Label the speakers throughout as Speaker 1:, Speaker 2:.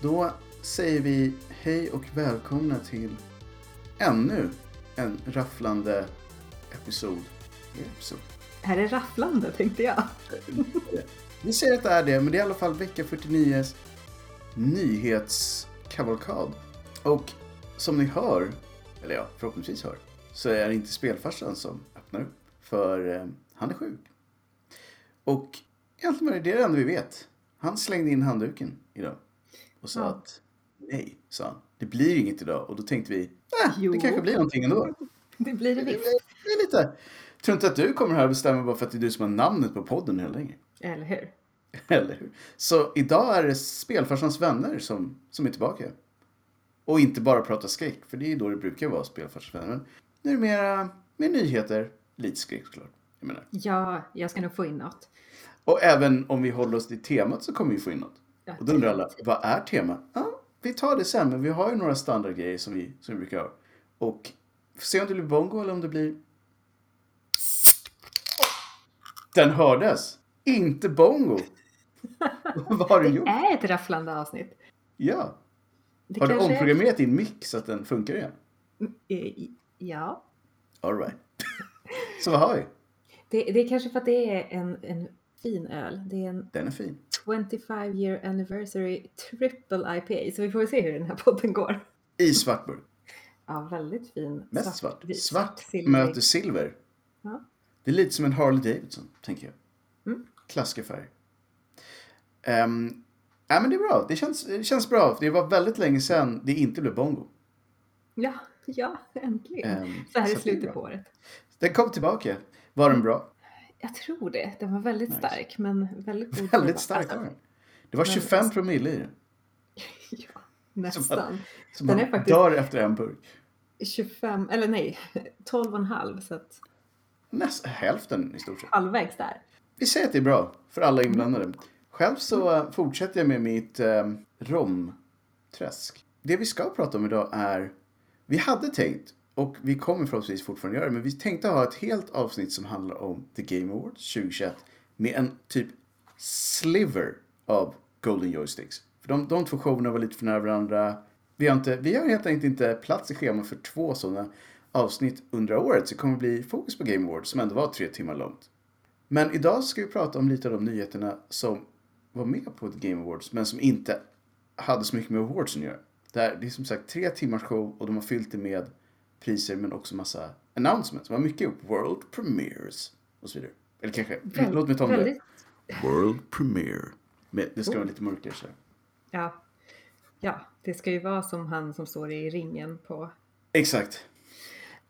Speaker 1: Då säger vi hej och välkomna till ännu en rafflande episod. Är det episod?
Speaker 2: Det här är rafflande tänkte jag.
Speaker 1: Vi säger att det är det, men det är i alla fall vecka 49s nyhetskavalkad. Och som ni hör, eller ja, förhoppningsvis hör, så är det inte spelfarsan som öppnar upp. För eh, han är sjuk. Och egentligen var det det enda vi vet. Han slängde in handduken idag. Och sa
Speaker 2: Ja.
Speaker 1: att nej, sa han. Det blir inget idag. Och då tänkte vi, äh,
Speaker 2: Jo.
Speaker 1: det kanske blir någonting ändå.
Speaker 2: Det blir det
Speaker 1: Det blir,
Speaker 2: visst.
Speaker 1: det är lite. Tror inte att du kommer här och bestämmer bara för att det är du som har namnet på podden hela länge.
Speaker 2: Eller hur?
Speaker 1: Eller hur? Så idag är det Spelfarsans vänner som, som är tillbaka. Och inte bara prata skräck, för det är då det brukar vara Spelfarsans vänner. Men numera med nyheter, lite skräck såklart. Jag menar.
Speaker 2: Ja, jag ska nog få in något.
Speaker 1: Och även om vi håller oss till temat så kommer vi få in något.
Speaker 2: Ja,
Speaker 1: Och då undrar alla, vad är temat? Ja, vi tar det sen, men vi har ju några standardgrejer som vi, som vi brukar ha. Och får se om det blir bongo eller om det blir... Den hördes! Inte bongo! vad har du gjort?
Speaker 2: Det är ett rafflande avsnitt.
Speaker 1: Ja.
Speaker 2: Det
Speaker 1: har du
Speaker 2: kanske är-
Speaker 1: omprogrammerat din mick så att den funkar igen?
Speaker 2: Eh, Ja.
Speaker 1: All right. så vad har vi?
Speaker 2: Det, det är kanske för att det är en, en fin öl. Det är en
Speaker 1: Den är fin.
Speaker 2: 25 year anniversary triple IPA. Så vi får väl se hur den här podden går.
Speaker 1: I svart burk.
Speaker 2: Ja, väldigt fin.
Speaker 1: Mest svart.
Speaker 2: vit,
Speaker 1: Svart
Speaker 2: silvrig.
Speaker 1: möter silver.
Speaker 2: Ja.
Speaker 1: Det är lite som en Harley Davidson, tänker jag.
Speaker 2: Mm.
Speaker 1: Klassiska färg. Um, ja, men det är bra. Det känns, det känns bra. för Det var väldigt länge sedan det inte blev bongo.
Speaker 2: Ja, ja, äntligen.
Speaker 1: Ehm,
Speaker 2: så här
Speaker 1: så det är
Speaker 2: i
Speaker 1: bra.
Speaker 2: slutet på Mm. året.
Speaker 1: Den kom tillbaka. Var den bra?
Speaker 2: Jag tror det. Den var väldigt
Speaker 1: Nice.
Speaker 2: stark, men väldigt god.
Speaker 1: Väldigt stark var
Speaker 2: Alltså,
Speaker 1: den. Det var
Speaker 2: men-
Speaker 1: 25 promille i den.
Speaker 2: ja, nästan.
Speaker 1: Så
Speaker 2: Den
Speaker 1: man
Speaker 2: är faktiskt-
Speaker 1: dör efter en burk.
Speaker 2: 25, eller nej, 12,5 så att
Speaker 1: Nästan hälften i stort sett.
Speaker 2: halvvägs där.
Speaker 1: Vi säger att det är bra för alla inblandade. Själv så eh, fortsätter jag med mitt eh, romträsk. Det vi ska prata om idag är, vi hade tänkt, och vi kommer förhoppningsvis fortfarande göra det, men vi tänkte ha ett helt avsnitt som handlar om The Game Awards 2021 med en typ sliver av Golden Joysticks. För de, de två showerna var lite för nära varandra. Vi har, inte, vi har helt enkelt inte plats i schemat för två sådana avsnitt under året, så det kommer bli fokus på Game Awards som ändå var tre timmar långt. Men idag ska vi prata om lite av de nyheterna som var med på The Game Awards men som inte hade så mycket med awards att göra. Det, här, det är som sagt tre timmars show och de har fyllt det med priser men också massa announcements. De har mycket upp. World Premiers och så vidare. Eller kanske,
Speaker 2: Väl-
Speaker 1: Mm, låt mig ta om det.
Speaker 2: väldigt, Oh.
Speaker 1: World Premiere. Men det ska vara lite mörkare så. här.
Speaker 2: ja, ja, det ska ju vara som han som står i ringen på.
Speaker 1: Exakt.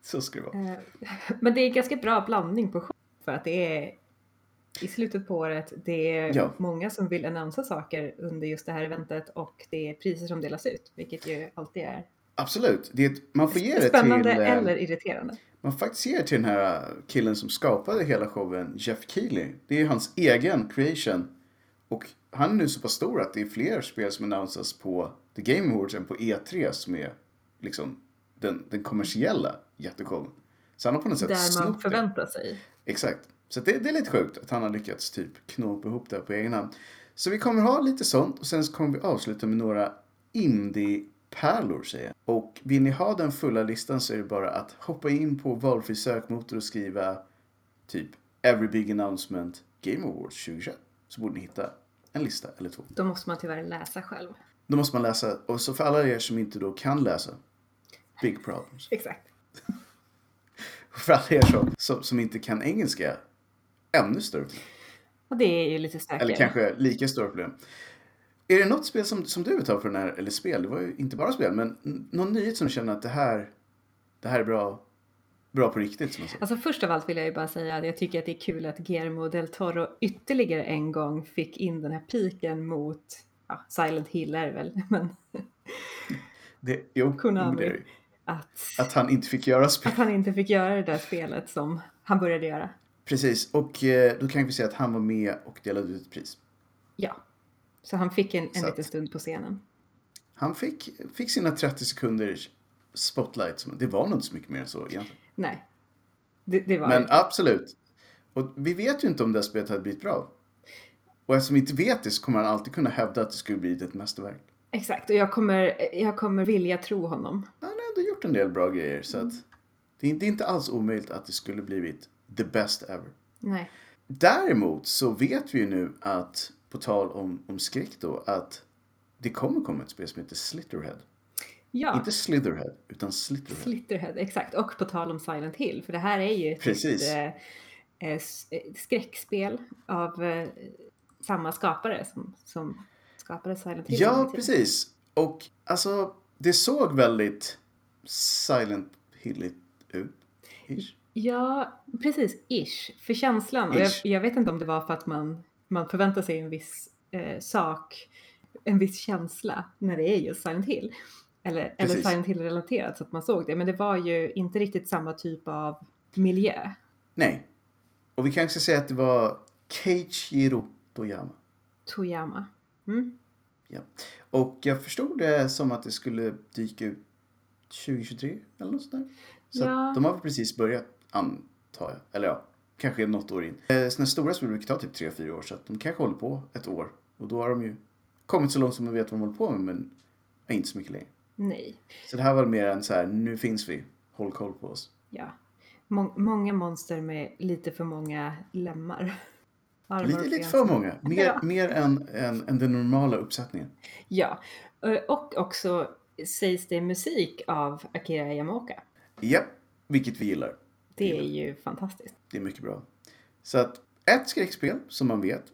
Speaker 1: Så ska det vara.
Speaker 2: Eh, men det är ganska bra blandning på show för att det är i slutet på året. Det är
Speaker 1: Ja.
Speaker 2: många som vill annonsa saker under just det här eventet och det är priser som delas ut, vilket ju alltid är
Speaker 1: Absolut. Det är ett, man får ge det
Speaker 2: spännande
Speaker 1: till... eh,
Speaker 2: eller irriterande.
Speaker 1: Man faktiskt ser till den här killen som skapade hela showen, Jeff Keely. Det är ju hans egen creation. Och han är nu så pass stor att det är fler spel som annonsas på The Game Awards än på E3 som är liksom den, den kommersiella jätteshowen. Så han har på något sätt
Speaker 2: Där man
Speaker 1: snott det.
Speaker 2: förväntar sig.
Speaker 1: Exakt. Så det, det är lite sjukt att han har lyckats typ knåpa ihop det här på egen hand. Så vi kommer ha lite sånt och sen så kommer vi avsluta med några indie-pärlor säger jag. Och vill ni ha den fulla listan så är det bara att hoppa in på valfri sökmotor och skriva typ Every Big Announcement Game Awards 2021. Så borde ni hitta en lista eller två.
Speaker 2: Då måste man tyvärr läsa själv.
Speaker 1: Då måste man läsa och så för alla er som inte då kan läsa, big problems.
Speaker 2: Exakt.
Speaker 1: För alla er som, som, som inte kan engelska, ännu större problem.
Speaker 2: Och det är ju lite stökigare.
Speaker 1: Eller kanske lika stora problem. Är det något spel som, som du vill ta för den här, eller spel, det var ju inte bara spel, men n- någon nyhet som du känner att det här, det här är bra, bra på riktigt som man säger?
Speaker 2: Alltså först av allt vill jag ju bara säga att jag tycker att det är kul att Guillermo del Toro ytterligare en gång fick in den här piken mot ja, Silent Hill är det väl, men
Speaker 1: Det, jo,
Speaker 2: Konami.
Speaker 1: men det är det ju.
Speaker 2: att,
Speaker 1: Att han inte fick göra spel.
Speaker 2: att han inte fick göra det där spelet som han började göra.
Speaker 1: Precis, och eh, då kan vi säga att han var med och delade ut ett pris.
Speaker 2: Ja, så han fick en, en
Speaker 1: Så att-
Speaker 2: liten stund på scenen.
Speaker 1: Han fick, fick sina 30 sekunders spotlight, som, det var nog inte så mycket mer än så egentligen.
Speaker 2: Nej, det, det var
Speaker 1: Men absolut. Och vi vet ju inte om det här spelet hade blivit bra. Och eftersom vi inte vet det så kommer han alltid kunna hävda att det skulle bli ett mästerverk.
Speaker 2: Exakt, och jag kommer, jag kommer vilja tro honom.
Speaker 1: Han har ändå gjort en del bra grejer så att det är inte- det är inte alls omöjligt att det skulle blivit the best ever.
Speaker 2: Nej.
Speaker 1: Däremot så vet vi ju nu att, på tal om, om skräck då, att det kommer komma ett spel som heter Slitterhead.
Speaker 2: Ja,
Speaker 1: Inte Slitherhead, utan Slitterhead.
Speaker 2: Slitterhead, exakt. Och på tal om Silent Hill, för det här är ju
Speaker 1: Precis.
Speaker 2: ett eh, eh, s- eh, skräckspel av eh, samma skapare som, som skapade Silent Hill.
Speaker 1: ja, precis. Och alltså, det såg väldigt Silent Hilligt ut. Ish.
Speaker 2: Ja, precis. Ish. För känslan. Och jag,
Speaker 1: Ish.
Speaker 2: jag vet inte om det var för att man, man förväntar sig en viss eh, sak, en viss känsla när det är just Silent Hill. Eller, eller
Speaker 1: Precis.
Speaker 2: Silent Hill-relaterat så att man såg det. Men det var ju inte riktigt samma typ av miljö.
Speaker 1: Nej. Och vi kanske ska säga att det var Keiichiro Toyama.
Speaker 2: Toyama. Mm.
Speaker 1: Ja. Och jag förstod det som att det skulle dyka ut 2023 eller något sånt där. Så
Speaker 2: Ja.
Speaker 1: att de har väl precis börjat antar jag. Eller ja, kanske något år in. Eh, Sådana stora spel brukar ta typ 3-4 år så att de kanske håller på ett år. Och då har de ju kommit så långt som man vet vad de håller på med men inte så mycket längre.
Speaker 2: Nej.
Speaker 1: Så det här var mer en så här, nu finns vi, håll koll på oss.
Speaker 2: Ja. Mång- många monster med lite för många lemmar. Armar
Speaker 1: Lite,
Speaker 2: och
Speaker 1: lite
Speaker 2: ben.
Speaker 1: för många, mer,
Speaker 2: Ja.
Speaker 1: mer än, än, än den normala uppsättningen.
Speaker 2: Ja. Eh, Och också sägs det musik av Akira Yamaoka.
Speaker 1: Japp, vilket vi gillar.
Speaker 2: Det är ju fantastiskt.
Speaker 1: Det är mycket bra. Så att ett skräckspel som man vet.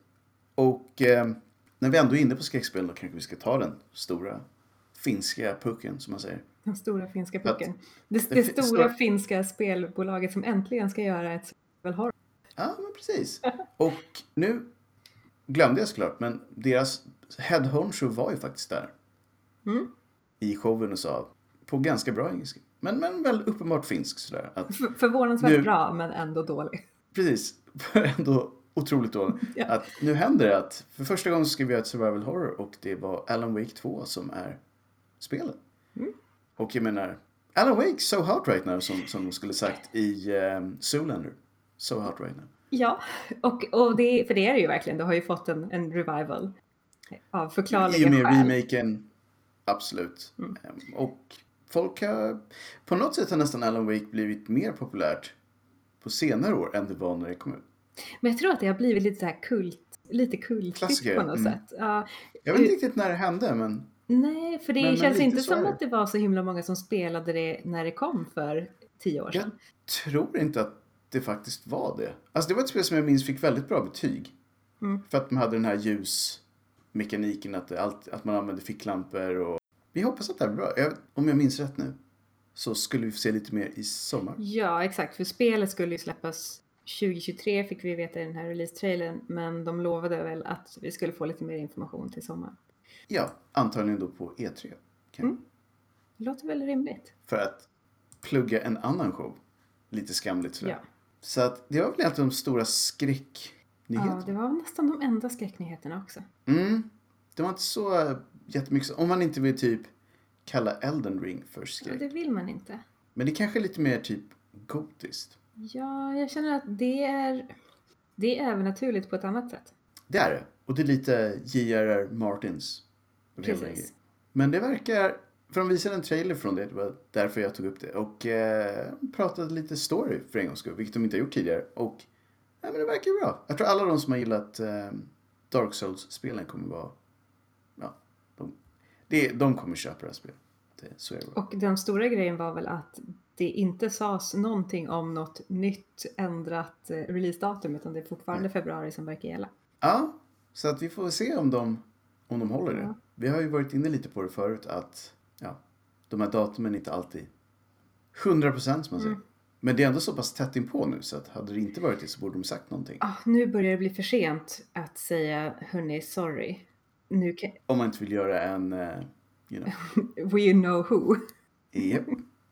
Speaker 1: Och eh, när vi ändå är inne på skräckspel då kanske vi ska ta den stora finska pucken som man säger.
Speaker 2: Den stora finska
Speaker 1: Att-
Speaker 2: pucken. Det, det,
Speaker 1: det fi-
Speaker 2: stora
Speaker 1: stor-
Speaker 2: finska spelbolaget som äntligen ska göra ett survival horror.
Speaker 1: Ja, men precis. Och nu glömde jag såklart, men deras head honcho var ju faktiskt där
Speaker 2: Mm.
Speaker 1: i showen och sa på ganska bra engelska, men, men väl uppenbart finsk sådär. Att,
Speaker 2: F- Förvånansvärt
Speaker 1: Nu-
Speaker 2: bra men ändå dålig.
Speaker 1: precis, ändå otroligt dåligt.
Speaker 2: Ja.
Speaker 1: Att nu händer det att för första gången ska vi göra ett survival horror och det var Alan Wake 2 som är spelet.
Speaker 2: Mm.
Speaker 1: Och jag menar, Alan Wake so hot right now som, som de skulle sagt i eh, Zoolander. So hot right now.
Speaker 2: Ja, och, och det, för det är det ju verkligen. Det har ju fått en, en revival av
Speaker 1: I och
Speaker 2: förklarliga
Speaker 1: med
Speaker 2: skäl.
Speaker 1: remaken, absolut.
Speaker 2: Mm.
Speaker 1: Ehm, Och folk har, på något sätt har nästan Alan Wake blivit mer populärt på senare år än det var när det kom ut.
Speaker 2: Men jag tror att det har blivit lite så här kult, lite kultigt
Speaker 1: Klassiker,
Speaker 2: på något
Speaker 1: mm.
Speaker 2: sätt. Ja,
Speaker 1: Jag vet inte riktigt när det hände men
Speaker 2: nej, för det
Speaker 1: Men- men
Speaker 2: känns
Speaker 1: lite
Speaker 2: inte
Speaker 1: så är
Speaker 2: som
Speaker 1: det.
Speaker 2: att det var så himla många som spelade det när det kom för tio år
Speaker 1: jag
Speaker 2: sedan.
Speaker 1: tror inte att det faktiskt var det. Alltså det var ett spel som jag minns fick väldigt bra betyg.
Speaker 2: Mm.
Speaker 1: För att de hade den här ljusmekaniken, att, det allt, att man använde ficklampor och... Vi hoppas att det här blir bra. Jag, om jag minns rätt nu så skulle vi få se lite mer i sommar.
Speaker 2: Ja, exakt. För spelet skulle ju släppas 2023 fick vi veta i den här release-trailern. Men de lovade väl att vi skulle få lite mer information till sommaren.
Speaker 1: Ja, antagligen då på E3. Kan
Speaker 2: Mm. Det låter väl rimligt?
Speaker 1: för att plugga en annan show. Lite skamligt sådär.
Speaker 2: Ja.
Speaker 1: Så att det var väl egentligen de stora
Speaker 2: ja,
Speaker 1: skräcknyheterna.
Speaker 2: det var nästan de enda skräcknyheterna också.
Speaker 1: Mm. Det var inte så eh, jättemycket, så- om man inte vill typ kalla Elden Ring för
Speaker 2: Ja,
Speaker 1: skräck.
Speaker 2: det vill man inte.
Speaker 1: Men det kanske är lite mer typ gotiskt.
Speaker 2: Ja, jag känner att det är, det är övernaturligt på ett annat sätt.
Speaker 1: Det är det. Och det är lite J.R.R. Martins. över hela grejen.
Speaker 2: Precis.
Speaker 1: Men det verkar, för de visade en trailer från det, det var därför jag tog upp det. Och eh, pratade lite story för en gångs skull, vilket de inte har gjort tidigare. Och nej, men det verkar ju bra. Jag tror alla de som har gillat eh, Dark Souls-spelen kommer vara, ja, de, det, de kommer köpa det här spelet. Det, så är det bara.
Speaker 2: Och den stora grejen var väl att det inte sades någonting om något nytt ändrat eh, releasedatum utan det är fortfarande februari som verkar gälla.
Speaker 1: Ja, så att vi får se om de, om de håller det.
Speaker 2: Ja.
Speaker 1: Vi har ju varit inne lite på det förut att ja, de här datumen är inte alltid 100% som man säger.
Speaker 2: Mm.
Speaker 1: Men det är ändå så pass tätt inpå nu så att hade det inte varit det så borde de sagt någonting.
Speaker 2: Ah, nu börjar det bli för sent att säga hörni sorry. Nu kan,
Speaker 1: Om man inte vill göra en, eh, you know,
Speaker 2: we know who.
Speaker 1: yep.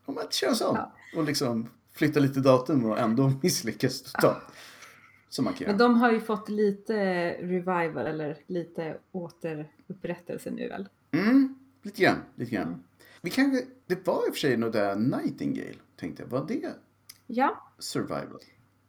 Speaker 1: om man inte kör en sån.
Speaker 2: Ja.
Speaker 1: Och liksom flytta lite datum och ändå misslyckas totalt. Som man kan
Speaker 2: Men
Speaker 1: göra.
Speaker 2: de har ju fått lite revival eller lite återupprättelse nu väl?
Speaker 1: Mm, lite grann, lite grann.
Speaker 2: Mm.
Speaker 1: Vi kanske, det var i och för sig något där Nightingale tänkte jag. Var det
Speaker 2: Ja,
Speaker 1: survival?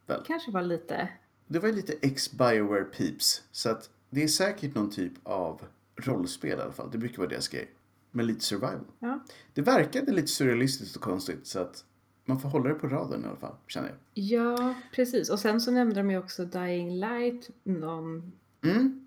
Speaker 1: Väl?
Speaker 2: kanske var lite.
Speaker 1: Det var ju lite ex-Bioware peeps. Så att det är säkert någon typ av rollspel i alla fall. Det brukar vara deras grej. Men lite survival.
Speaker 2: Ja.
Speaker 1: Det verkade lite surrealistiskt och konstigt så att man får hålla det på raden i alla fall, känner jag.
Speaker 2: ja, precis. Och sen så nämnde de ju också Dying Light, någon,
Speaker 1: Mm.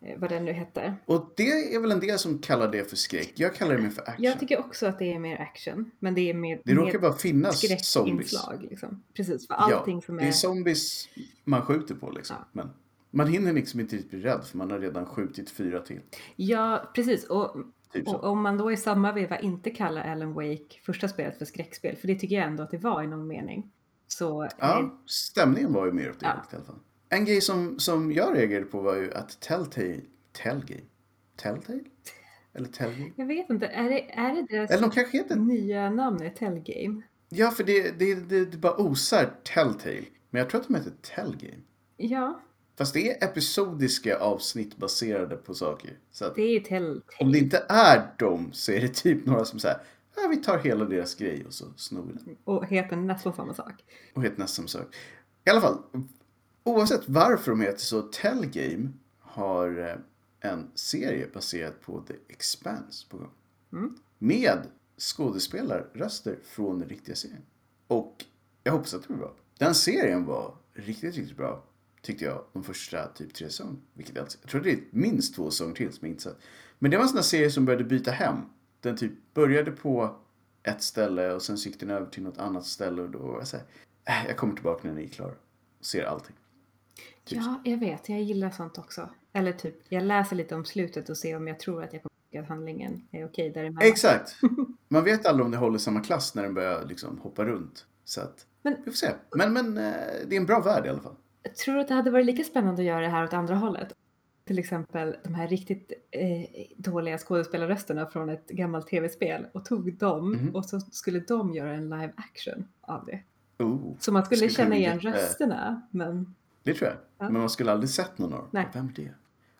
Speaker 2: eh, vad den nu hette.
Speaker 1: Och det är väl en del som kallar det för skräck. Jag kallar det mer för action.
Speaker 2: Jag tycker också att det är mer action, men det är mer,
Speaker 1: det råkar bara
Speaker 2: mer
Speaker 1: finnas zombies.
Speaker 2: skräckinslag. Liksom. Precis, för allting
Speaker 1: ja,
Speaker 2: som
Speaker 1: Det
Speaker 2: är...
Speaker 1: är zombies man skjuter på liksom.
Speaker 2: Ja.
Speaker 1: Men man hinner liksom inte riktigt bli rädd för man har redan skjutit fyra till.
Speaker 2: Ja, precis. Och,
Speaker 1: Typ så.
Speaker 2: och om man då i samma veva inte kallar Alan Wake första spelet för skräckspel, för det tycker jag ändå att det var i någon mening. Så eh,
Speaker 1: Ja, stämningen var ju mer åt det
Speaker 2: Ja.
Speaker 1: hållet i alla fall. En grej som, som jag reagerade på var ju att Telltale... Tellgate? Telltale? Eller Tellgate?
Speaker 2: jag vet inte, är det, är det deras
Speaker 1: Eller de kanske heter...
Speaker 2: nya namn är Tellgame?
Speaker 1: Ja, för det, det, det, det bara osar Telltale. Men jag tror att de heter Tellgate.
Speaker 2: Ja,
Speaker 1: Fast det är episodiska avsnitt baserade på saker. Så att
Speaker 2: det är ju Tell.
Speaker 1: om det inte är dem så är det typ några som säger ja, vi tar hela deras grej och så snor vi den.
Speaker 2: och heter nästan samma sak.
Speaker 1: Och heter nästan samma sak. I alla fall, oavsett varför de heter så, Tellgame har eh, en serie baserad på The Expanse på gång.
Speaker 2: Mm.
Speaker 1: Med skådespelarröster från den riktiga serien. Och jag hoppas att det blir bra. Den serien var riktigt, riktigt bra. Tyckte jag de första typ tre säsongerna. Vilket jag, jag tror det är minst två säsonger till som jag inte sett. Men det var en sån där serie som började byta hem. Den typ började på ett ställe och sen så gick den över till något annat ställe och då var jag såhär, "Äh, jag kommer tillbaka när den är klar. Och ser allting. Typ
Speaker 2: Ja, jag vet, jag gillar sånt också. Eller typ, jag läser lite om slutet och ser om jag tror att jag kommer tycka att handlingen är okej däremellan.
Speaker 1: Exakt! Man vet aldrig om det håller samma klass när den börjar liksom hoppa runt. Så att,
Speaker 2: Men-
Speaker 1: vi får se. Men, men eh, det är en bra värld i alla fall.
Speaker 2: Tror du att det hade varit lika spännande att göra det här åt andra hållet? Till exempel de här riktigt eh, dåliga skådespelarrösterna från ett gammalt tv-spel och tog dem
Speaker 1: Mhm.
Speaker 2: och så skulle de göra en live action av det.
Speaker 1: Oh,
Speaker 2: Så man skulle
Speaker 1: Skulle
Speaker 2: känna
Speaker 1: bli
Speaker 2: igen
Speaker 1: jätte-
Speaker 2: rösterna, men
Speaker 1: det tror jag.
Speaker 2: Ja.
Speaker 1: Men man skulle aldrig sett någon av dem.
Speaker 2: Nej.
Speaker 1: Vem är det?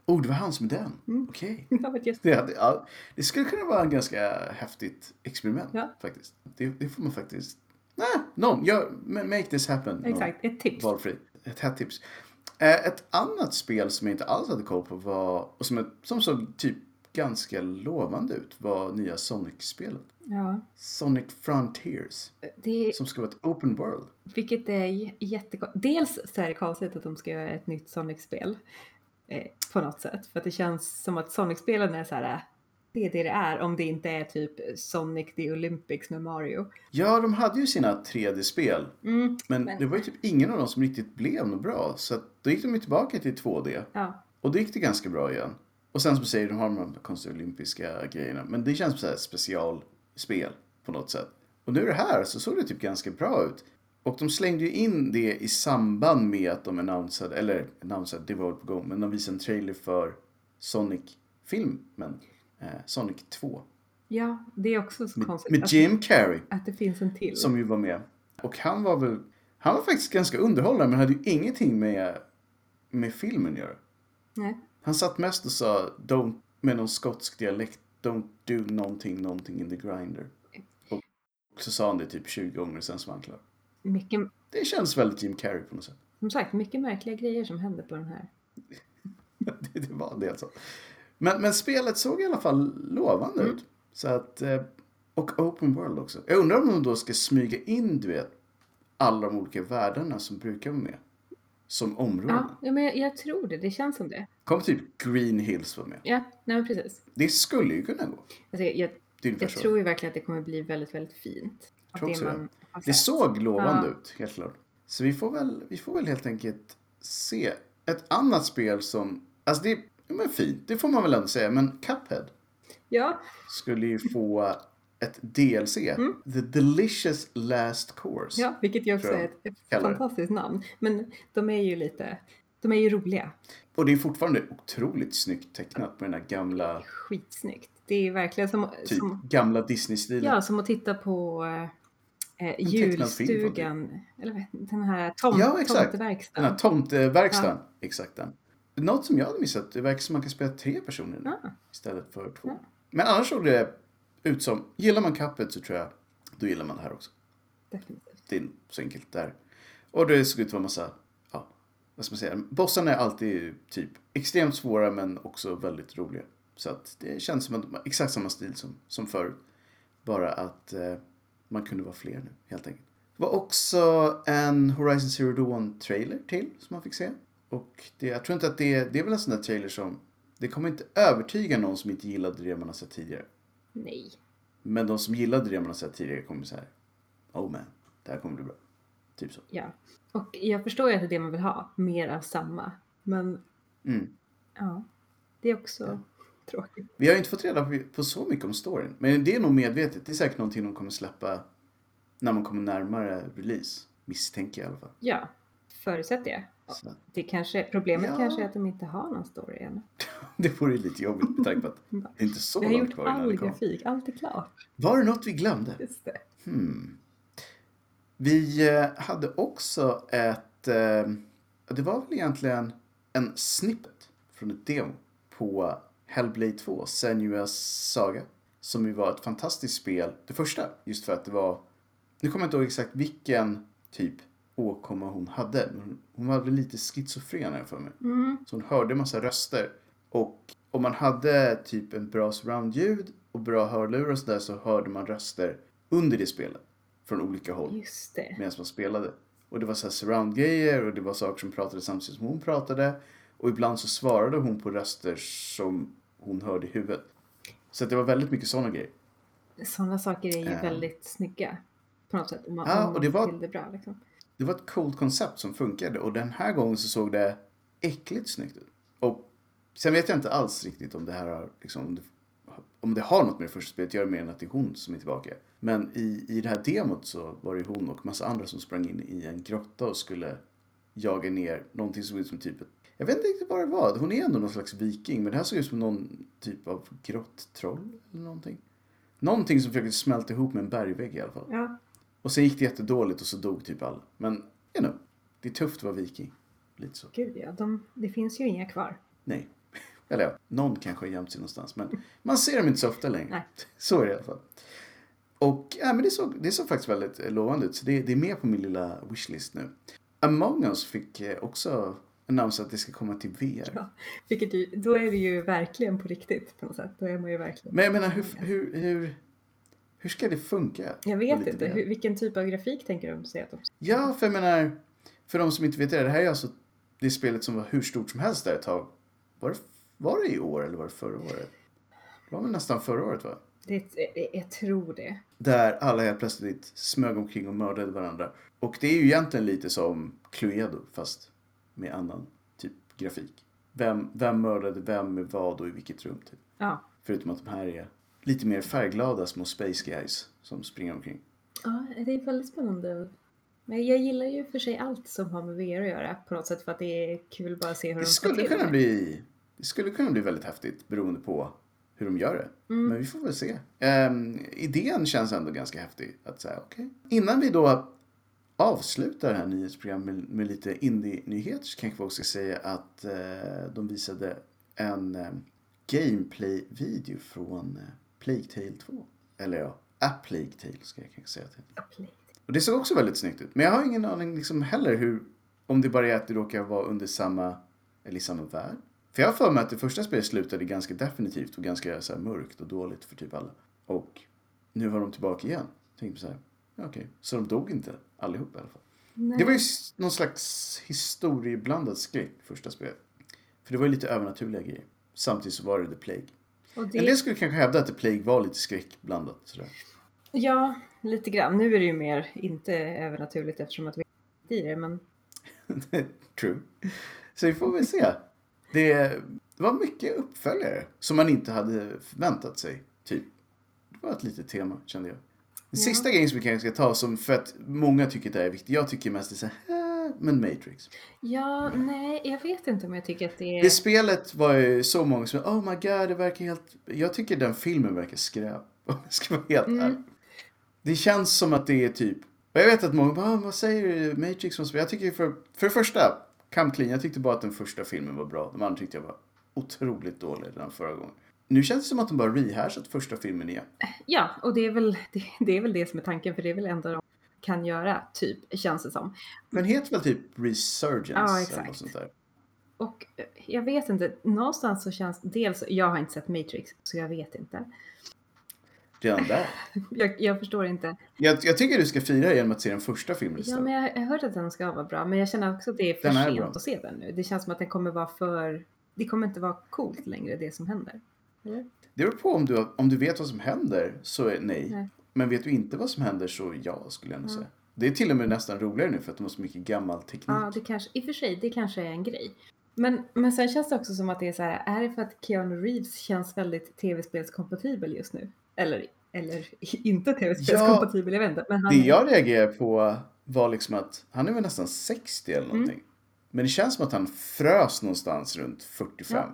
Speaker 1: Oh, det var han som är den.
Speaker 2: Mm.
Speaker 1: Okej.
Speaker 2: jag vet just
Speaker 1: Det, hade, ja, det skulle kunna vara en ganska häftigt experiment
Speaker 2: Ja.
Speaker 1: faktiskt. Det, det får man faktiskt... Nej, någon. gör- men make this happen. någon.
Speaker 2: Exakt, ett tips.
Speaker 1: Valfri. Ett hett tips. Eh, Ett annat spel som jag inte alls hade koll på var, och som, som såg typ ganska lovande ut var nya Sonic-spelet.
Speaker 2: Ja,
Speaker 1: Sonic Frontiers.
Speaker 2: det,
Speaker 1: Som ska vara ett open world.
Speaker 2: Vilket är j- jättekon- Dels så är det konstigt att de ska göra ett nytt Sonic-spel. Eh, på något sätt. För att det känns som att Sonic-spelen är så här. eh, Det är det det är. Om det inte är typ Sonic the Olympics med Mario.
Speaker 1: Ja, de hade ju sina 3D-spel.
Speaker 2: Mm,
Speaker 1: Men,
Speaker 2: Men-
Speaker 1: det var ju typ ingen av dem som riktigt blev något bra. Så att, då gick de ju tillbaka till 2D.
Speaker 2: ja.
Speaker 1: Och då gick det ganska bra igen. Och sen som du säger, de har de här konstiga olympiska grejerna. Men det känns som så här specialspel på något sätt. Och nu är det här så såg det typ ganska bra ut. Och de slängde ju in det i samband med att de annonsade, eller annonsade, det var väl på gång, men de visade en trailer för Sonic-filmen. Eh, Sonic 2.
Speaker 2: ja, det är också så
Speaker 1: Med,
Speaker 2: konstigt.
Speaker 1: med
Speaker 2: att,
Speaker 1: Jim Carrey
Speaker 2: att det finns en till.
Speaker 1: som ju var med. Och han var väl, han var faktiskt ganska underhållande men hade ju ingenting med, med filmen att göra.
Speaker 2: Nej.
Speaker 1: Han satt mest och sa don't, med någon skotsk dialekt, don't do någonting, någonting in the grinder. Och så sa han det typ 20 gånger sen så var han klar.
Speaker 2: Mycket,
Speaker 1: Det känns väldigt Jim Carrey på något sätt.
Speaker 2: som sagt, mycket märkliga grejer som händer på den här.
Speaker 1: Det, det var en del så. Men, men spelet såg i alla fall lovande
Speaker 2: Mm.
Speaker 1: ut. Så att, eh, och open world också. Jag undrar om de då ska smyga in, du vet, alla de olika världarna som brukar vara med. Som områden.
Speaker 2: Ja, ja, men jag, jag tror det. Det känns som det.
Speaker 1: Kommer typ Green Hills vara med.
Speaker 2: Ja, nej men precis.
Speaker 1: Det skulle ju kunna gå.
Speaker 2: Alltså, jag jag,
Speaker 1: Det är ungefär
Speaker 2: jag
Speaker 1: så.
Speaker 2: tror ju verkligen att det kommer bli väldigt, väldigt fint. Att
Speaker 1: Tror också det.
Speaker 2: har
Speaker 1: Det
Speaker 2: sett.
Speaker 1: såg lovande
Speaker 2: Ja.
Speaker 1: ut, helt klart. Så vi får, väl, vi får väl helt enkelt se ett annat spel som, alltså det är ja, men fint, det får man väl ändå säga, men Cuphead
Speaker 2: Ja,
Speaker 1: skulle ju få ett DLC, The Delicious Last Course.
Speaker 2: Mm. Ja, vilket ju också
Speaker 1: tror jag
Speaker 2: är ett ett
Speaker 1: kallar det.
Speaker 2: fantastiskt namn. Men de är ju lite, de är ju roliga.
Speaker 1: Och det är fortfarande otroligt snyggt tecknat med den här gamla,
Speaker 2: Skitsnyggt. Det är ju verkligen som,
Speaker 1: typ,
Speaker 2: som,
Speaker 1: gamla Disney-stilen.
Speaker 2: ja, som att titta på eh,
Speaker 1: tecknad film, typ.
Speaker 2: julstugan. Eller vad- den här tom,
Speaker 1: Ja, exakt. Den här
Speaker 2: tomteverkstan.
Speaker 1: tomteverkstan, exakt den. Något som jag hade missat, det verkar som man kan spela tre personer nu
Speaker 2: Ah.
Speaker 1: istället för två.
Speaker 2: Ja.
Speaker 1: Men annars såg det ut som, gillar man kappet så tror jag, då gillar man det här också.
Speaker 2: Definitivt.
Speaker 1: Det är så enkelt där. Och det såg ut att vara massa, ja, vad ska man säga, bossarna är alltid typ extremt svåra men också väldigt roliga. Så att det känns som att de har exakt samma stil som, som förut. Bara att eh, man kunde vara fler nu helt enkelt. Det var också en Horizon Zero Dawn-trailer till som man fick se. Och det, jag tror inte att det, det är väl en sån där trailer som... Det kommer inte övertyga någon som inte gillade det man har sett tidigare.
Speaker 2: Nej.
Speaker 1: Men de som gillade det man har sett tidigare kommer så här. Oh man, det här kommer bli bra. Typ så.
Speaker 2: Ja. Och jag förstår ju att det är det man vill ha. Mer av samma. Men
Speaker 1: Mm.
Speaker 2: ja, det är också tråkigt.
Speaker 1: Vi har ju inte fått reda på, på så mycket om storyn. Men det är nog medvetet. Det är säkert någonting de kommer släppa när man kommer närmare release. Misstänker jag i alla fall.
Speaker 2: Ja, förutsätter jag.
Speaker 1: Så.
Speaker 2: Det kanske, problemet
Speaker 1: Ja.
Speaker 2: kanske är att de inte har någon story än.
Speaker 1: Det vore ju lite jobbigt med tanke på att det är inte så
Speaker 2: Vi har
Speaker 1: långt
Speaker 2: gjort
Speaker 1: kvar innan det
Speaker 2: all
Speaker 1: kom.
Speaker 2: grafik, allt är klart.
Speaker 1: Var det något vi glömde?
Speaker 2: Just det.
Speaker 1: Hmm. Vi eh, hade också ett... Eh, det var väl egentligen en snippet från ett demo på Hellblade 2, Senuas Saga. Som ju var ett fantastiskt spel, det första, just för att det var... Nu kommer jag inte ihåg exakt vilken typ åkomma hon hade. men hon- Hon var väl lite schizofren här för mig.
Speaker 2: Mm.
Speaker 1: Så hon hörde en massa röster. Och om man hade typ en bra surroundljud och bra hörlurar och sådär så hörde man röster under det spelet. Från olika håll
Speaker 2: Just det.
Speaker 1: medan man spelade. Och det var så här surround-grejer och det var saker som pratade samtidigt som hon pratade. Och ibland så svarade hon på röster som hon hörde i huvudet. Så att det var väldigt mycket sådana grejer.
Speaker 2: Sådana saker är ju
Speaker 1: Eh.
Speaker 2: väldigt snygga. På något sätt. Om man,
Speaker 1: Ja,
Speaker 2: om
Speaker 1: och
Speaker 2: man
Speaker 1: det
Speaker 2: får
Speaker 1: var-
Speaker 2: till det bra liksom.
Speaker 1: Det var ett coolt koncept som funkade och den här gången så såg det äckligt snyggt ut. Och sen vet jag inte alls riktigt om det här har, liksom, om, det, om det har något med det första spelet att göra mer än att det är hon som är tillbaka. Men i, i det här demot så var det hon och massa andra som sprang in i en grotta och skulle jaga ner någonting som såg ut som typ ett jag vet inte riktigt vad det var. Hon är ändå någon slags viking, men det här såg ut som någon typ av grotttroll eller någonting. Någonting som försökte smälta ihop med en bergvägg i alla fall.
Speaker 2: Ja.
Speaker 1: Och sen gick det jättedåligt och så dog typ alla. Men, you know, det är tufft att vara viking. Lite så.
Speaker 2: Gud ja, de, det finns ju inga kvar.
Speaker 1: Nej. Eller ja, någon kanske har gömt sig någonstans. Men man ser dem inte så ofta längre.
Speaker 2: Nej.
Speaker 1: Så är det i alla fall. Och ja, men det, såg, det såg faktiskt väldigt eh, lovande ut. Så det, det är med på min lilla wishlist nu. Among us fick eh, också annonsa att det ska komma till VR.
Speaker 2: Ja. Vilket ju, då är det ju verkligen på riktigt på något sätt. Då är man ju verkligen...
Speaker 1: Men jag menar, hur, hur, hur, hur ska det funka?
Speaker 2: Jag
Speaker 1: Och
Speaker 2: vet
Speaker 1: lite
Speaker 2: inte,
Speaker 1: VR?
Speaker 2: hur, vilken typ av grafik tänker de sig att de...
Speaker 1: Ja, för jag menar, för de som inte vet det, det här är alltså det spelet som var hur stort som helst där ett tag. Var det, var det i år eller var det förra året? Det var väl nästan förra året va?
Speaker 2: Det, jag, jag tror det.
Speaker 1: Där alla helt plötsligt smög omkring och mördade varandra. Och det är ju egentligen lite som Cluedo fast med annan typ grafik. Vem, vem mördade vem med vad och i vilket rum typ.
Speaker 2: Ja.
Speaker 1: Förutom att de här är lite mer färgglada små space guys som springer omkring.
Speaker 2: Ja, det är väldigt spännande. Men jag gillar ju för sig allt som har med VR att göra på något sätt för att det är kul bara att se hur
Speaker 1: Det
Speaker 2: de
Speaker 1: skulle
Speaker 2: till
Speaker 1: kunna
Speaker 2: det.
Speaker 1: bli, det skulle kunna bli väldigt häftigt beroende på hur de gör det.
Speaker 2: Mm.
Speaker 1: Men vi får väl se. Ehm, idén känns ändå ganska häftig. Att säga, okej. Innan vi då avslutar det här nyhetsprogrammet med, med lite indie-nyheter så kanske vi också ska säga att eh, de visade en eh, gameplay-video från eh, Plague Tale 2. Eller ja, A Plague Tale ska jag kanske säga till. Och det såg också väldigt snyggt ut. Men jag har ingen aning liksom heller hur, om det bara är att det råkar vara under samma, eller i samma värld. För jag har för mig att det första spelet slutade ganska definitivt och ganska så här mörkt och dåligt för typ alla. Och nu var de tillbaka igen. Tänkte så här, ja, okej. Så de dog inte allihop i alla fall.
Speaker 2: Nej.
Speaker 1: Det var ju s- någon slags historieblandad skräck, första spelet. För det var ju lite övernaturliga grejer. Samtidigt så var det The Plague.
Speaker 2: Och
Speaker 1: En
Speaker 2: det,
Speaker 1: del skulle kanske hävda att The Plague var lite skräckblandat sådär.
Speaker 2: ja, lite grann. Nu är det ju mer inte övernaturligt eftersom att vi är i det, men
Speaker 1: True. Så vi får väl se. Det var mycket uppföljare som man inte hade förväntat sig. Typ. Det var ett litet tema kände jag. Den
Speaker 2: Ja.
Speaker 1: sista grejen som vi kanske ska ta som för att många tycker att det här är viktigt. Jag tycker mest det är så här, "Äh, men Matrix.
Speaker 2: ja, nej, jag vet inte om jag tycker att det är...
Speaker 1: Det spelet var ju så många som oh my god, det verkar helt... Jag tycker den filmen verkar skräp. Om jag ska vara helt
Speaker 2: Mm.
Speaker 1: ärlig. Det känns som att det är typ... Och jag vet att många bara, "Ah, vad säger du Matrix? och så." Jag tycker för, för det första, Come Clean, jag tyckte bara att den första filmen var bra. De andra tyckte jag var otroligt dålig den förra gången. Nu känns det som att de bara rehashat första filmen igen.
Speaker 2: Ja, och det är, väl, det, det är väl det som är tanken, för det är väl det enda de kan göra, typ, känns det som.
Speaker 1: Den heter väl typ Resurgence?
Speaker 2: Ja,
Speaker 1: eller
Speaker 2: exakt.
Speaker 1: något sånt där.
Speaker 2: Och eh, jag vet inte, någonstans så känns dels, jag har inte sett Matrix så jag vet inte.
Speaker 1: Redan där.
Speaker 2: Jag, jag förstår inte.
Speaker 1: Jag, jag tycker du ska fira genom att se den första filmen
Speaker 2: Ja,
Speaker 1: istället.
Speaker 2: men jag jag har hört att den ska vara bra, men jag känner också att det är för
Speaker 1: Den är
Speaker 2: sent
Speaker 1: bra.
Speaker 2: att se den nu. Det känns som att den kommer vara för, det kommer inte vara coolt längre det som händer. Eller?
Speaker 1: Det beror på om du, om du vet vad som händer så är nej.
Speaker 2: Nej.
Speaker 1: Men vet du inte vad som händer så ja, skulle jag nog
Speaker 2: Mm.
Speaker 1: säga. Det är till och med nästan roligare nu för att de har så mycket gammal teknik.
Speaker 2: Ja, det kanske, i och för sig, det kanske är en grej. Men, men sen känns det också som att det är så här, är det för att Keanu Reeves känns väldigt tv-spelskompatibel just nu? Eller, eller inte tv-spelskompatibel, jag vet inte. Men han,
Speaker 1: Det jag reagerade på var liksom att han är väl nästan 60 eller
Speaker 2: Mm.
Speaker 1: någonting. Men det känns som att han frös någonstans runt 45.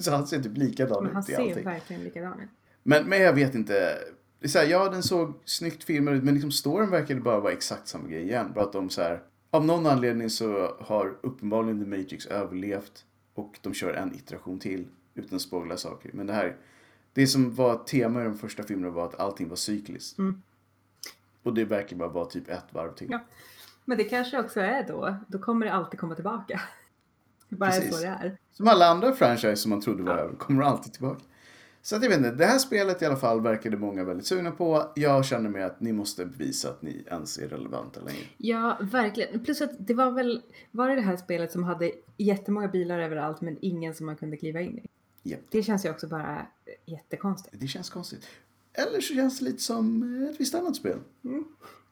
Speaker 1: Så han ser typ likadan
Speaker 2: men han
Speaker 1: ut i
Speaker 2: ser
Speaker 1: allting.
Speaker 2: verkligen likadan ut.
Speaker 1: Men, men jag vet inte. Det är så här, ja, den såg snyggt filmad ut men liksom storyn verkade bara vara exakt samma grej igen. Bara att de så här, av någon anledning så har uppenbarligen The Matrix överlevt och de kör en iteration till utan att spoila saker. Men det här, det som var tema i de första filmerna var att allting var cykliskt.
Speaker 2: Mm.
Speaker 1: Och det verkar bara vara typ ett varv till.
Speaker 2: Ja. Men det kanske också är då, då kommer det alltid komma tillbaka. Det bara är
Speaker 1: Precis.
Speaker 2: så det är.
Speaker 1: Som alla andra franchise som man trodde var över kommer alltid tillbaka. Så att jag vet inte, det här spelet i alla fall verkade många väldigt sugna på. Jag känner mig att ni måste bevisa att ni ens är relevanta längre.
Speaker 2: Ja, verkligen. Plus att det var väl, var det det här spelet som hade jättemånga bilar överallt men ingen som man kunde kliva in i?
Speaker 1: Japp.
Speaker 2: Det känns ju också bara jättekonstigt.
Speaker 1: Det känns konstigt. Eller så känns det lite som ett visst annat spel.
Speaker 2: Mm.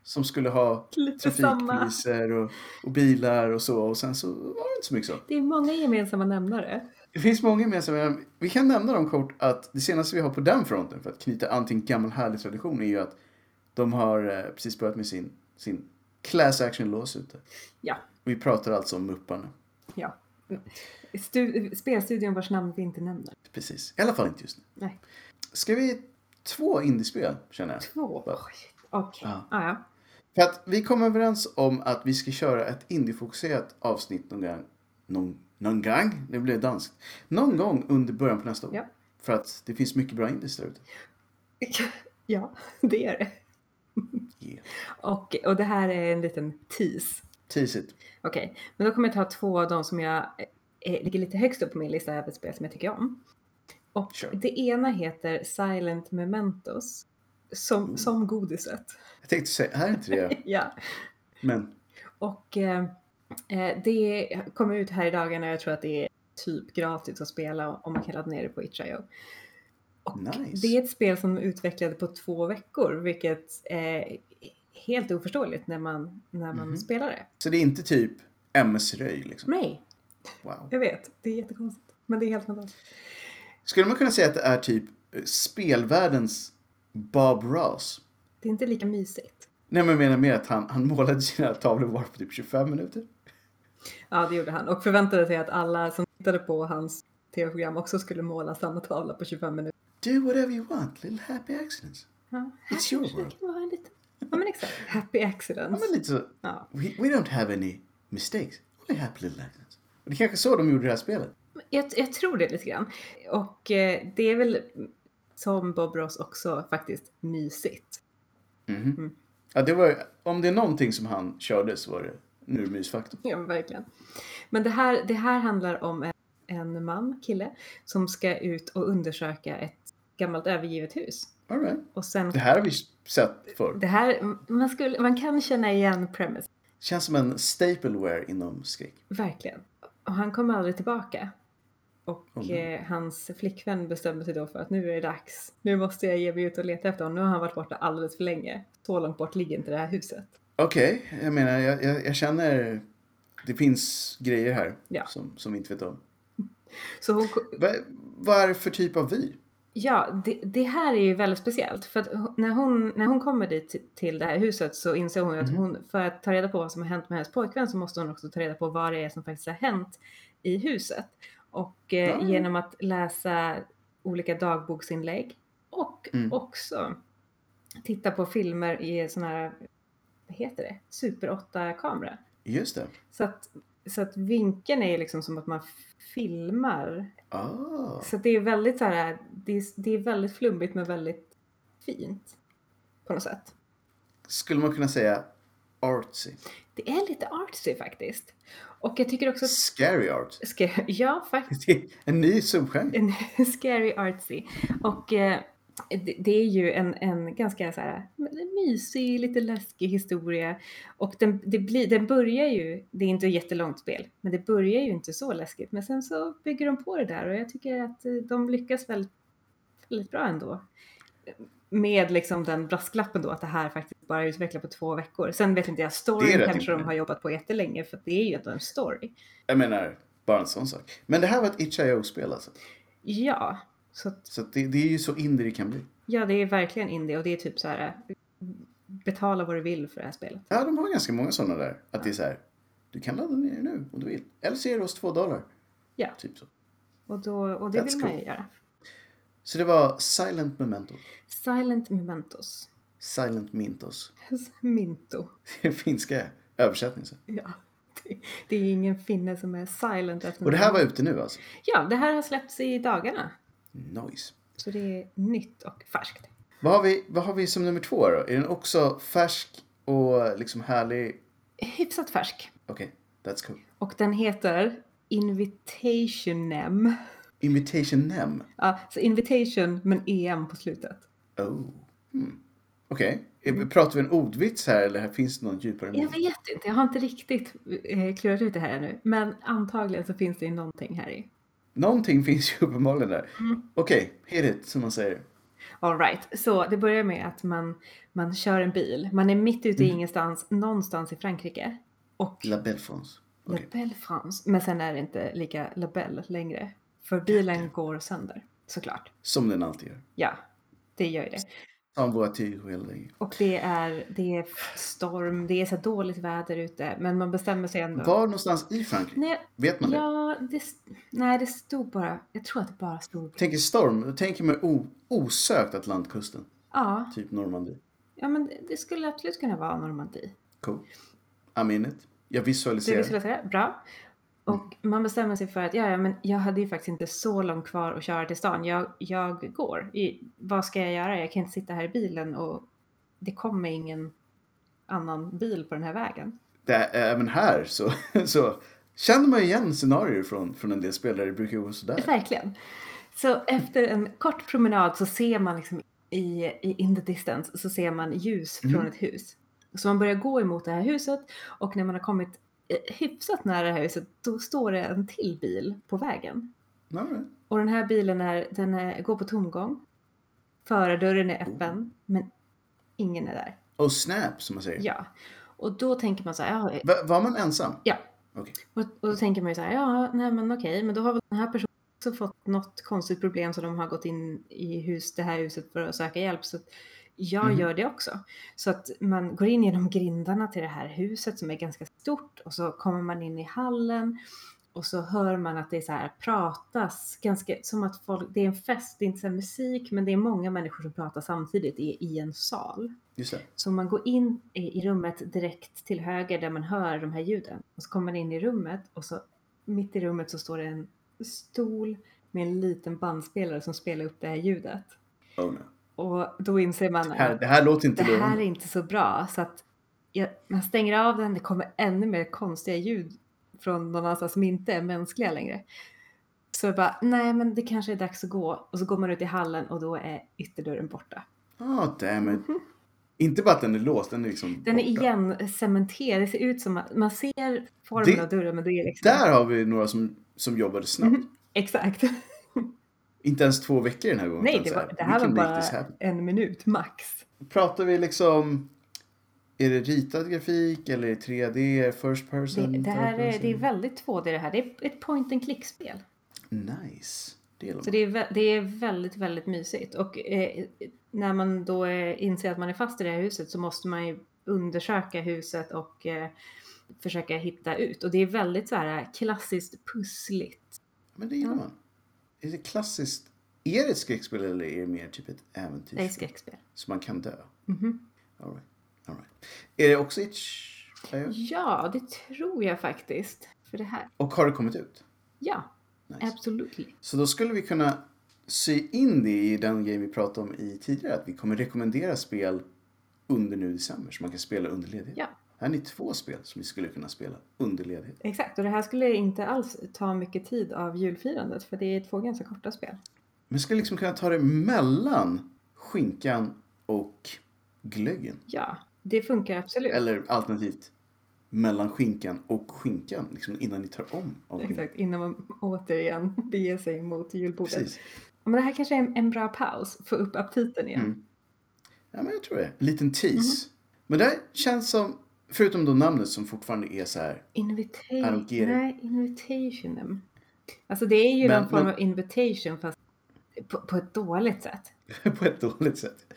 Speaker 1: Som skulle ha
Speaker 2: Lite samma.
Speaker 1: trafikpoliser och, och bilar och så och sen så var det inte så mycket så.
Speaker 2: Det är många gemensamma nämnare.
Speaker 1: Det finns många gemensamma. Vi kan nämna dem kort att det senaste vi har på den fronten för att knyta an till en gammal härlig tradition är ju att de har eh, precis börjat med sin, sin class action lawsuit.
Speaker 2: Ja,
Speaker 1: Vi pratar alltså om Mupparna.
Speaker 2: ja. Stu- spelstudion vars namn vi inte nämner.
Speaker 1: Precis. I alla fall inte just nu.
Speaker 2: Nej,
Speaker 1: Ska vi... Två indiespel, känner jag.
Speaker 2: två.
Speaker 1: Va?
Speaker 2: Oj, Okej.
Speaker 1: Ja.
Speaker 2: Ah, ja.
Speaker 1: För att vi kom överens om att vi ska köra ett indiefokuserat avsnitt någon gång. Någon, någon gång? Det blev danskt. Någon gång under början på nästa år.
Speaker 2: Ja.
Speaker 1: För att det finns mycket bra indies där ute.
Speaker 2: ja, det är det.
Speaker 1: Yeah.
Speaker 2: Och, och det här är en liten tease.
Speaker 1: Tease it.
Speaker 2: Okej, men då kommer jag ta två av de som jag eh, ligger lite högst upp på min lista över spel som jag tycker om. Och
Speaker 1: Kör.
Speaker 2: det ena heter Silent Mementos. Som, som godiset.
Speaker 1: Jag tänkte säga, här är inte det.
Speaker 2: ja.
Speaker 1: Men
Speaker 2: Och eh, eh, det kommer ut här i dagarna och jag tror att det är typ gratis att spela om man kan ladda ner det på itch.io.
Speaker 1: nice.
Speaker 2: Det är ett spel som de utvecklade på två veckor, vilket är helt oförståeligt när man, när man
Speaker 1: Mhm.
Speaker 2: spelar det.
Speaker 1: Så det är inte typ MS-röj liksom.
Speaker 2: Nej,
Speaker 1: Wow.
Speaker 2: jag vet. Det är jättekonstigt. Men det är helt fantastiskt.
Speaker 1: Skulle man kunna säga att det är typ eh, spelvärldens Bob Ross?
Speaker 2: Det är inte lika mysigt.
Speaker 1: Nej men jag menar mer att han, han målade sina tavlor var på typ 25 minuter.
Speaker 2: Ja, det gjorde han och förväntade sig att alla som tittade på hans tv-program också skulle måla samma tavla på 25 minuter.
Speaker 1: Do whatever you want, little happy accidents.
Speaker 2: Ja, här
Speaker 1: It's your
Speaker 2: kanske det
Speaker 1: world.
Speaker 2: kan vara en liten... Ja, men exakt. Happy
Speaker 1: Ja
Speaker 2: accidents.
Speaker 1: men lite så.
Speaker 2: Ja.
Speaker 1: We, we don't have any mistakes, only happy little accidents. Och det är kanske så de gjorde det här spelet.
Speaker 2: Jag, jag tror det lite grann. Och eh, det är väl som Bob Ross också faktiskt mysigt.
Speaker 1: Mhm.
Speaker 2: Mm.
Speaker 1: Ja, det var, om det är någonting som han körde så var det nu mysfaktorn.
Speaker 2: Ja, men verkligen. Men det här, det här handlar om en, en man, kille, som ska ut och undersöka ett gammalt övergivet hus.
Speaker 1: All right.
Speaker 2: Och sen,
Speaker 1: Det här har vi sett förr.
Speaker 2: det här, man, skulle, man kan känna igen premise,
Speaker 1: Känns som en stapleware inom skräck.
Speaker 2: verkligen. Och han kommer aldrig tillbaka. Och
Speaker 1: Oh, no.
Speaker 2: eh, hans flickvän bestämmer sig då för att nu är det dags. Nu måste jag ge mig ut och leta efter honom. Nu har han varit borta alldeles för länge. Så långt bort ligger inte det här huset.
Speaker 1: Okej, jag menar, jag, jag, jag känner... Det finns grejer här
Speaker 2: Ja.
Speaker 1: som, som vi inte vet om.
Speaker 2: Så hon,
Speaker 1: Va, vad är det för typ av vi?
Speaker 2: Ja, det, det här är ju väldigt speciellt. För att hon- när hon, när hon kommer dit till- till det här huset så inser hon ju att
Speaker 1: Mhm.
Speaker 2: hon, för att ta reda på vad som har hänt med hennes pojkvän så måste hon också ta reda på vad det är som faktiskt har hänt i huset. Och eh,
Speaker 1: Ja.
Speaker 2: genom att läsa olika dagboksinlägg och
Speaker 1: Mm.
Speaker 2: också titta på filmer i sådana här, vad heter det, super 8-kamera.
Speaker 1: Just det.
Speaker 2: Så att, så att vinkeln är ju liksom som att man filmar
Speaker 1: Ah.
Speaker 2: så det är väldigt så här, det är, det är väldigt flummigt men väldigt fint. På något sätt.
Speaker 1: Skulle man kunna säga artsy.
Speaker 2: Det är lite artsy faktiskt. Och jag tycker också att...
Speaker 1: Scary art.
Speaker 2: Ska- Ja, faktiskt.
Speaker 1: Det är en ny subgenre.
Speaker 2: En scary artsy. Och eh, det, det är ju en, en ganska så här mysig, lite läskig historia. Och den, det blir, den börjar ju, det är inte ett jättelångt spel, men det börjar ju inte så läskigt. Men sen så bygger de på det där och jag tycker att eh, de lyckas väldigt, väldigt bra ändå. Med liksom den brasklappen då att det här faktiskt bara är utvecklat på två veckor. Sen vet inte jag,
Speaker 1: Det är
Speaker 2: storyn
Speaker 1: rätt
Speaker 2: kanske de
Speaker 1: imponerande.
Speaker 2: har jobbat på jättelänge för att det är ju ändå en story.
Speaker 1: Jag menar, bara en sån sak. Men det här var ett itch.io-spel alltså.
Speaker 2: Ja, så att
Speaker 1: Så att det, det är ju så indie det kan bli.
Speaker 2: Ja, det är verkligen indie och det är typ så här betala vad du vill för det här spelet.
Speaker 1: Ja, de har ganska många sådana där. Att det är så här, du kan ladda ner det nu om du vill. Eller så ger du oss två dollar.
Speaker 2: Ja.
Speaker 1: Typ så.
Speaker 2: Och, då, och det
Speaker 1: That's
Speaker 2: vill man
Speaker 1: cool.
Speaker 2: ju göra.
Speaker 1: Så det var Silent Memento.
Speaker 2: Silent Mementos.
Speaker 1: Silent Mintos.
Speaker 2: Minto.
Speaker 1: Det är finska översättning. så.
Speaker 2: Ja. Det- Det är ingen finne som är silent efter
Speaker 1: Och det här var ute nu alltså?
Speaker 2: Ja, det här har släppts i dagarna.
Speaker 1: Nice.
Speaker 2: Så det är nytt och färskt.
Speaker 1: Vad har, vi, vad har vi som nummer två då? Är den också färsk och liksom härlig?
Speaker 2: Hyfsat färsk.
Speaker 1: Okej, that's cool.
Speaker 2: Och den heter Invitationem.
Speaker 1: Invitation Nem.
Speaker 2: Ja, så invitation men EM på slutet.
Speaker 1: Oh. Hmm. Okej, Är- pratar vi en ordvits här eller här finns det någon djupare
Speaker 2: Jag
Speaker 1: mening?
Speaker 2: vet inte, jag har inte riktigt eh, klurat ut det här ännu. Men antagligen så finns det ju någonting här i.
Speaker 1: Någonting finns ju uppenbarligen där.
Speaker 2: Mm.
Speaker 1: Okej, hit it som man säger.
Speaker 2: Alright, så det börjar med att man, man kör en bil. Man är mitt ute i ingenstans, någonstans i Frankrike. Och
Speaker 1: La Belle France.
Speaker 2: La
Speaker 1: Okej.
Speaker 2: Belle France. Men sen är det inte lika La Belle längre. För bilen går sönder, såklart.
Speaker 1: Som den alltid gör.
Speaker 2: Ja, det gör ju det.
Speaker 1: Som voiture hela dagen.
Speaker 2: Och det är, det är storm, det är så här dåligt väder ute. Men man bestämmer sig ändå.
Speaker 1: Var någonstans i Frankrike?
Speaker 2: Nej,
Speaker 1: Vet man det?
Speaker 2: ja, det, nej, det stod bara, jag tror att det bara stod.
Speaker 1: Tänker storm, då tänker man o- osökt Atlantkusten.
Speaker 2: Ja,
Speaker 1: Typ Normandie.
Speaker 2: ja men det- det skulle absolut kunna vara Normandie.
Speaker 1: Cool. I'm in it. Jag
Speaker 2: Du
Speaker 1: visualiserar.
Speaker 2: visualiserar, bra. Och man bestämmer sig för att ja, ja, men jag hade ju faktiskt inte så långt kvar att köra till stan. Jag, jag går. I, vad ska jag göra? Jag kan inte sitta här i bilen och det kommer ingen annan bil på den här vägen.
Speaker 1: det, även här så, så känner man ju igen scenarier från, från en del spel där det brukar gå sådär.
Speaker 2: Verkligen. Så efter en kort promenad så ser man liksom i, i in the distance så ser man ljus från ett hus. Så man börjar gå emot det här huset och när man har kommit eh, hyfsat nära det här huset då står det en till bil på vägen.
Speaker 1: Ja, men,
Speaker 2: Och den här bilen är, den är, går på tomgång. Förardörren är öppen, men ingen är där.
Speaker 1: Och snap som man säger.
Speaker 2: Ja. Och då tänker man så här, ja,
Speaker 1: Va- var man ensam?
Speaker 2: ja.
Speaker 1: Okej.
Speaker 2: Och, och då tänker man ju så här, ja, nej men okej, men då har väl den här personen också fått något konstigt problem så de har gått in i hus, det här huset för att söka hjälp. Så att jag
Speaker 1: Mhm.
Speaker 2: gör det också. Så att man går in genom grindarna till det här huset som är ganska stort och så kommer man in i hallen och så hör man att det är så här pratas ganska som att folk, det är en fest, det är inte så här musik, men det är många människor som pratar samtidigt i, i en sal.
Speaker 1: Just det.
Speaker 2: Så man går in i i rummet direkt till höger där man hör de här ljuden. Och så kommer man in i rummet och så mitt i rummet så står det en stol med en liten bandspelare som spelar upp det här ljudet.
Speaker 1: Oh, no.
Speaker 2: Och då inser man
Speaker 1: det, här,
Speaker 2: att
Speaker 1: det här låter
Speaker 2: det
Speaker 1: inte
Speaker 2: här är
Speaker 1: lovande.
Speaker 2: inte så bra. Så att jag, man stänger av den, det kommer ännu mer konstiga ljud från någon annanstans som inte är mänskliga längre. Så jag bara, nej men det kanske är dags att gå. Och så går man ut i hallen och då är ytterdörren borta.
Speaker 1: Ah, damn it. Inte bara att den är låst, den är liksom
Speaker 2: Den är
Speaker 1: borta.
Speaker 2: igen cementerad. Det ser ut som att man ser formen
Speaker 1: Det-
Speaker 2: av dörren men det är liksom...
Speaker 1: Där har vi några som, som jobbade snabbt.
Speaker 2: Mm-hmm. Exakt.
Speaker 1: Inte ens två veckor den här gången.
Speaker 2: Nej,
Speaker 1: utan
Speaker 2: det,
Speaker 1: så
Speaker 2: var, det här
Speaker 1: we
Speaker 2: var
Speaker 1: can make this
Speaker 2: bara
Speaker 1: happen.
Speaker 2: en minut max.
Speaker 1: Pratar vi liksom... Är det ritad grafik eller är det 3D, first
Speaker 2: Det,
Speaker 1: person?
Speaker 2: det, här
Speaker 1: third
Speaker 2: är, det är
Speaker 1: person?
Speaker 2: väldigt 2D det här. Det är ett point and click-spel.
Speaker 1: Nice. Det gillar
Speaker 2: Så
Speaker 1: man.
Speaker 2: det är, vä- det är väldigt, väldigt mysigt. Och eh, när man då eh, inser att man är fast i det här huset så måste man ju undersöka huset och eh, försöka hitta ut. Och det är väldigt så här klassiskt pussligt.
Speaker 1: Men det gillar man. Är det klassiskt? Är det ett skräckspel eller är det mer typ ett äventyr?
Speaker 2: Det är skräckspel.
Speaker 1: Så man kan dö?
Speaker 2: Mhm.
Speaker 1: All right. All right. Är det också Itch? IO?
Speaker 2: Ja, det tror jag faktiskt. För det här.
Speaker 1: Och har det kommit ut?
Speaker 2: Ja,
Speaker 1: Nice.
Speaker 2: absolut.
Speaker 1: Så då skulle vi kunna sy in det i den grej vi pratade om i tidigare. Att vi kommer rekommendera spel under nu i december. Så man kan spela under ledighet.
Speaker 2: Ja.
Speaker 1: Här är ni två spel som ni skulle kunna spela under ledighet.
Speaker 2: Exakt, och det här skulle inte alls ta mycket tid av julfirandet för det är två ganska korta spel.
Speaker 1: Men skulle liksom kunna ta det mellan skinkan och glöggen.
Speaker 2: Ja, det funkar absolut.
Speaker 1: Eller alternativt mellan skinkan och skinkan, liksom innan ni tar om av skinkan.
Speaker 2: Exakt, innan man återigen beger sig mot julbordet.
Speaker 1: Precis.
Speaker 2: Men det här kanske är en, en bra paus, få upp aptiten igen.
Speaker 1: Mm. Ja, men jag tror det. En liten tease.
Speaker 2: Mhm.
Speaker 1: Men det här känns som, förutom då namnet som fortfarande är så här
Speaker 2: Invitation.
Speaker 1: Arrangering.
Speaker 2: Nej, invitation. Alltså det är ju
Speaker 1: Men-
Speaker 2: någon form
Speaker 1: men-
Speaker 2: av invitation fast på, på ett dåligt sätt.
Speaker 1: på ett dåligt sätt,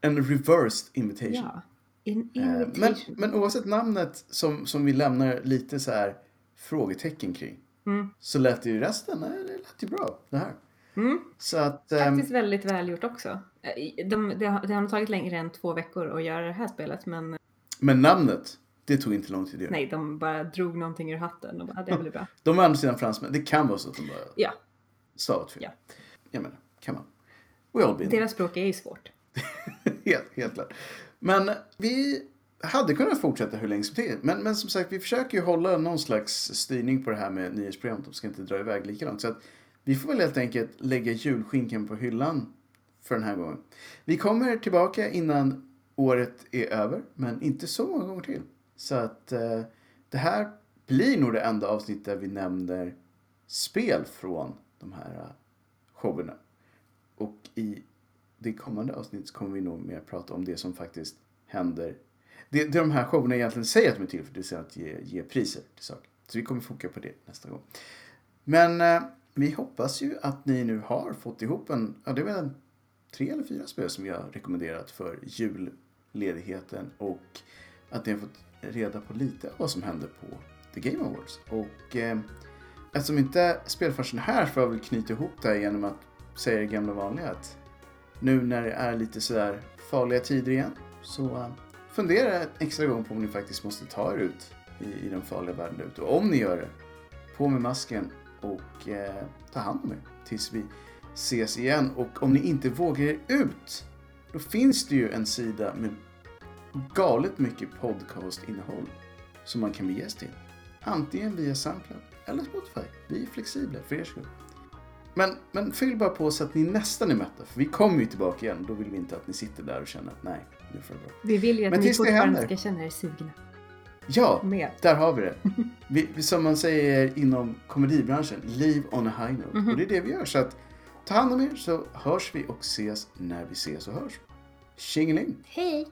Speaker 1: en reversed invitation.
Speaker 2: Ja. In,
Speaker 1: Eh,
Speaker 2: invitation.
Speaker 1: Men, men oavsett namnet som, som vi lämnar lite så här frågetecken kring
Speaker 2: Mm.
Speaker 1: så lät det ju resten, eh, det lät ju bra det här.
Speaker 2: Mm.
Speaker 1: Så att, ehm,
Speaker 2: Faktiskt väldigt välgjort också. Eh, De, det, har, det har nog tagit längre än två veckor att göra det här spelet men
Speaker 1: men namnet, det tog inte lång tid att göra.
Speaker 2: nej, de bara drog någonting ur hatten och bara, "Ah, det blir bra.
Speaker 1: De är å andra sidan fransmän, det kan vara så att de bara
Speaker 2: Ja,
Speaker 1: stavat fel.
Speaker 2: Ja.
Speaker 1: Jag menar, kan man. We all been there.
Speaker 2: deras språk är ju svårt.
Speaker 1: helt, helt klart. Men vi hade kunnat fortsätta hur länge som helst. Men, men som sagt, vi försöker ju hålla någon slags styrning på det här med nyhetsprogrammet. De ska inte dra iväg lika långt. Så att vi får väl helt enkelt lägga julskinkan på hyllan för den här gången. Vi kommer tillbaka innan året är över, men inte så många gånger till. Så att eh, det här blir nog det enda avsnitt där vi nämner spel från de här eh, showerna. Och i det kommande avsnittet så kommer vi nog mer prata om det som faktiskt händer. Det, det de här showerna egentligen säger att de är till för, det vill säga att ge, ge priser till saker. Så vi kommer fokusera på det nästa gång. Men eh, vi hoppas ju att ni nu har fått ihop en, ja det är väl en tre eller fyra spel som vi har rekommenderat för julledigheten och att ni har fått reda på lite av vad som hände på The Game Awards. Och eh, eftersom inte spelfarsen är här får jag väl knyta ihop det här genom att säga det gamla vanliga att nu när det är lite sådär farliga tider igen så eh, fundera en extra gång på om ni faktiskt måste ta er ut i, i den farliga världen där ute. Och om ni gör det, på med masken och eh, ta hand om er tills vi ses igen. Och om ni inte vågar er ut, då finns det ju en sida med galet mycket podcastinnehåll som man kan bege sig till. Antingen via Soundcloud eller Spotify. Vi är flexibla för er skull. Men, men fyll bara på så att ni nästan är mätta, för vi kommer ju tillbaka igen. Då vill vi inte att ni sitter där och känner att nej, nu får det vara.
Speaker 2: Vi vill ju att
Speaker 1: Men
Speaker 2: ni
Speaker 1: tills det
Speaker 2: fortfarande
Speaker 1: händer.
Speaker 2: ska känna er sugna
Speaker 1: Ja,
Speaker 2: med.
Speaker 1: där har vi det. Vi, vi- som man säger inom komedibranschen, live on a high note. Och det är det vi gör. Så att, ta hand om er så hörs vi och ses när vi ses och hörs. Tjingeling!
Speaker 2: Hej!